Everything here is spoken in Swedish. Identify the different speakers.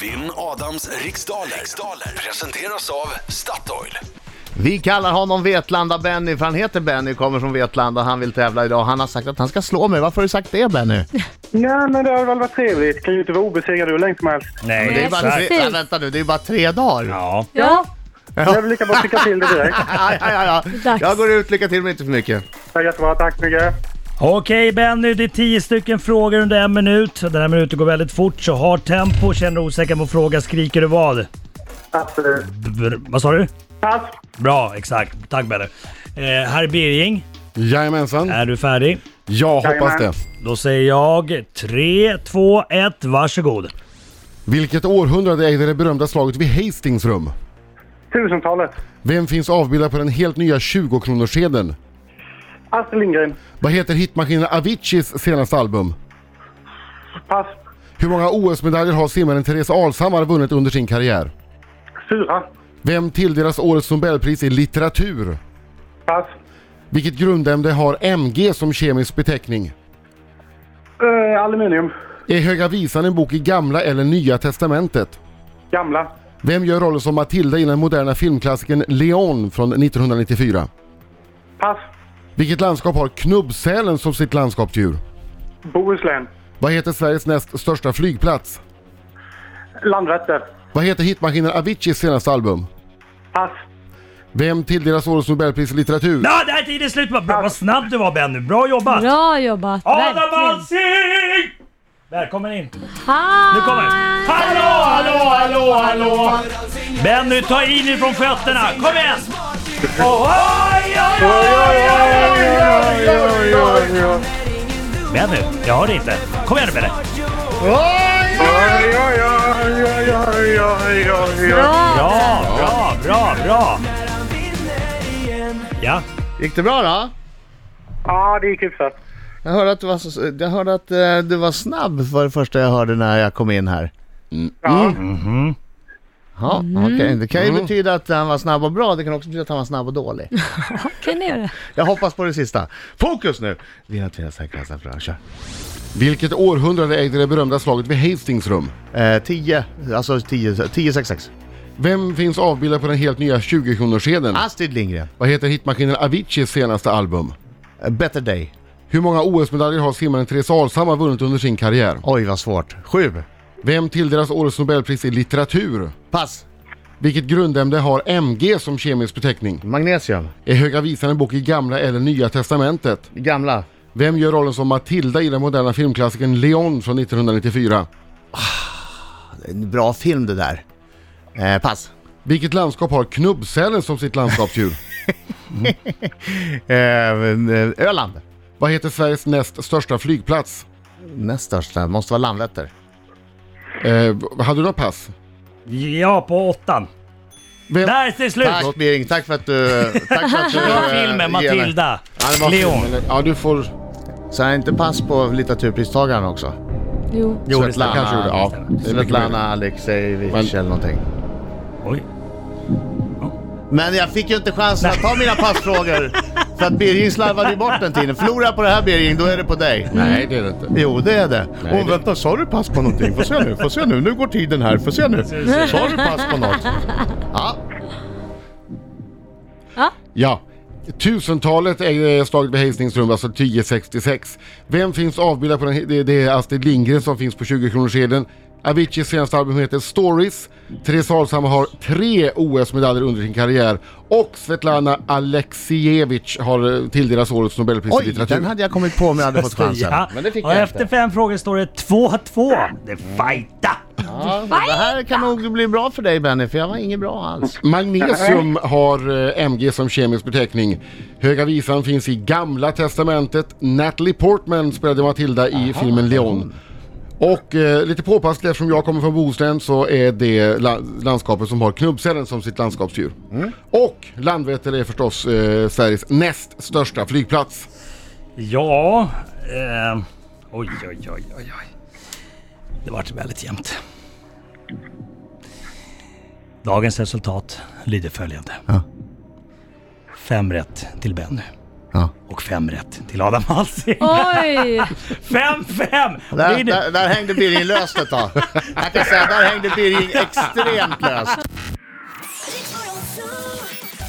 Speaker 1: Vinn Adams riksdaler. riksdaler presenteras av Statoil.
Speaker 2: Vi kallar honom Vetlanda-Benny för han heter Benny, kommer från Vetlanda, han vill tävla idag. Han har sagt att han ska slå mig. Varför har du sagt det Benny?
Speaker 3: Nej, men det har väl varit trevligt. Kan ju inte vara obesegrad hur länge som helst.
Speaker 4: Nej,
Speaker 2: Det är bara tre,
Speaker 4: exakt.
Speaker 2: ja, vänta nu, det är bara tre dagar.
Speaker 4: Ja.
Speaker 5: Ja,
Speaker 3: Jag vill lika bra tycka till det direkt.
Speaker 2: Ja, ja, ja, ja.
Speaker 5: Dags.
Speaker 2: Jag går ut, lycka till men inte för mycket.
Speaker 3: Ja, jättebra, tack så mycket.
Speaker 4: Okej Benny, det är tio stycken frågor under en minut. Den här minuten går väldigt fort, så ha tempo. Känner du osäker på en fråga skriker du vad?
Speaker 3: Absolut.
Speaker 4: Br- vad sa du?
Speaker 3: eh, Pass.
Speaker 4: Bra, exakt. Tack Benny. Eh, herr Birging,
Speaker 6: Jajamensan.
Speaker 4: är du färdig?
Speaker 6: Jag hoppas det.
Speaker 4: Då säger jag 3, 2, 1, varsågod.
Speaker 6: Vilket århundrade ägde det berömda slaget vid Hastings rum?
Speaker 3: Tusentalet.
Speaker 6: Vem finns avbildad på den helt nya 20-kronorssedeln?
Speaker 3: Astrid Lindgren.
Speaker 6: Vad heter hitmaskinen Aviciis senaste album?
Speaker 3: Pass.
Speaker 6: Hur många OS-medaljer har simmaren Therese Alshammar vunnit under sin karriär?
Speaker 3: Fyra.
Speaker 6: Vem tilldelas årets Nobelpris i litteratur?
Speaker 3: Pass.
Speaker 6: Vilket grundämne har MG som kemisk beteckning?
Speaker 3: Eh, aluminium.
Speaker 6: Är Höga Visan en bok i Gamla eller Nya Testamentet?
Speaker 3: Gamla.
Speaker 6: Vem gör rollen som Matilda i den moderna filmklassikern Leon från 1994?
Speaker 3: Pass.
Speaker 6: Vilket landskap har Knubbsälen som sitt landskapsdjur?
Speaker 3: Bohuslän.
Speaker 6: Vad heter Sveriges näst största flygplats?
Speaker 3: Landvetter.
Speaker 6: Vad heter hitmaskinen Aviciis senaste album?
Speaker 3: Pass.
Speaker 6: Vem tilldelas årets Nobelpris i litteratur?
Speaker 4: Ja, där är tiden slut! Vad, bra, vad snabb du var Benny, bra jobbat!
Speaker 5: bra jobbat.
Speaker 4: Adam
Speaker 5: verkligen.
Speaker 4: Alsing! Välkommen in!
Speaker 5: Hallå!
Speaker 4: Nu kommer Hallå, hallå, hallå, hallå! Benny, ta in ifrån fötterna! Kom igen! Oj, oj, oj, oj, oj, oj, oj, oj. Benny, jag hör dig inte. Kom igen nu Benny!
Speaker 5: Bra!
Speaker 4: Bra, bra, bra, bra! Ja,
Speaker 2: Gick det bra då?
Speaker 3: Ja, det gick hyfsat.
Speaker 2: Jag hörde att du var, så, jag hörde att eh, du var snabb var det första jag hörde när jag kom in här. Mm-hmm.
Speaker 3: Ja.
Speaker 2: Ja, okej. Det kan ju betyda att han var snabb och bra, det kan också betyda att han var snabb och dålig.
Speaker 5: Kan ni göra?
Speaker 2: Jag hoppas på det sista. Fokus nu! Vi har tre säkra bra, kör.
Speaker 6: Vilket århundrade ägde det berömda slaget vid Hastings rum?
Speaker 2: Eh, 10, alltså 10, 10, 6, 6.
Speaker 6: Vem finns avbildad på den helt nya 20-kronorssedeln?
Speaker 2: Astrid Lindgren,
Speaker 6: Vad heter hitmaskinen Aviciis senaste album?
Speaker 2: eh, Better Day.
Speaker 6: Hur många OS-medaljer har simmaren Therese Alshammar vunnit under sin karriär?
Speaker 2: Oj vad svårt. 7.
Speaker 6: Vem tilldelas årets Nobelpris i litteratur?
Speaker 2: Pass.
Speaker 6: Vilket grundämne har MG som kemisk beteckning?
Speaker 2: Magnesium.
Speaker 6: Är Höga Visan en bok i Gamla eller Nya Testamentet?
Speaker 2: Gamla.
Speaker 6: Vem gör rollen som Matilda i den moderna filmklassikern Leon från 1994?
Speaker 2: En bra film det där. Eh, pass.
Speaker 6: Vilket landskap har Knubbsälen som sitt landskapsdjur?
Speaker 2: Eh, eh, Öland.
Speaker 6: Vad heter Sveriges näst största flygplats?
Speaker 2: Näst största, måste vara Landvetter.
Speaker 6: Eh, hade du något pass?
Speaker 4: ja på åttan.
Speaker 6: Vem-
Speaker 4: Där är det slut!
Speaker 2: Tack Bering, tack för att du... Tack för att du
Speaker 4: Bra
Speaker 2: eh, ger mig.
Speaker 4: filmen Matilda,
Speaker 6: det var
Speaker 4: Leon.
Speaker 6: fel, eller- Ja, du får...
Speaker 2: Så är inte pass på litteraturpristagaren också?
Speaker 5: Jo.
Speaker 4: Jo, det stämmer.
Speaker 6: kanske gjorde, ja.
Speaker 4: Det stämmer.
Speaker 6: Det är mycket
Speaker 2: Svetlana
Speaker 6: möjligt. Men-
Speaker 2: Alexejevitj eller någonting.
Speaker 4: Oj.
Speaker 2: Men jag fick ju inte chansen att ta mina passfrågor. För att Birging slarvade ju bort den tiden. Förlorar jag på det här Birging, då är det på dig.
Speaker 6: Nej, det är det inte.
Speaker 2: Jo, det är det. Åh,
Speaker 6: det-
Speaker 2: vänta, sa du pass på någonting? Få se nu, få se nu. Nu går tiden här. Få se nu. Sa du pass på något? Ja,
Speaker 6: Ja. Tusentalet ägde slaget vid Hastings rum, alltså 1066. Vem finns avbildad på den? Det, det är Astrid Lindgren som finns på 20-kronorssedeln. Aviciis senaste album heter Stories. Therese Alshammar har tre OS-medaljer under sin karriär. Och Svetlana Alexievich har eh, tilldelats årets Nobelpris i
Speaker 2: oj,
Speaker 6: litteratur.
Speaker 2: den hade jag kommit på om jag hade fått chansen.
Speaker 4: Ja.
Speaker 2: Men det fick
Speaker 4: och
Speaker 2: jag
Speaker 4: efter
Speaker 2: inte.
Speaker 4: fem frågor står det 2-2. Det är fighta!
Speaker 2: Ja, det här kan nog bli bra för dig Benny, för jag var ingen bra alls.
Speaker 6: Magnesium har eh, MG som kemisk beteckning. Höga visan finns i Gamla Testamentet. Natalie Portman spelade Matilda i filmen Leon. Och eh, lite påpassligt eftersom jag kommer från Bohuslän så är det la- landskapet som har knubbsälen som sitt landskapsdjur. Och Landvetter är förstås eh, Sveriges näst största flygplats.
Speaker 4: Ja... Eh, oj, oj, oj, oj, oj. Det vart väldigt jämnt. Dagens resultat lyder följande. Fem rätt till Benny
Speaker 2: Ja.
Speaker 4: Och fem rätt till Adam Alsing.
Speaker 5: Oj!
Speaker 4: 5-5! Och det
Speaker 2: Där,
Speaker 4: är det-
Speaker 2: där, där hängde Birging löst ett tag. Jag kan säga, där hängde Birging extremt löst.
Speaker 7: Riks Morgonzoo.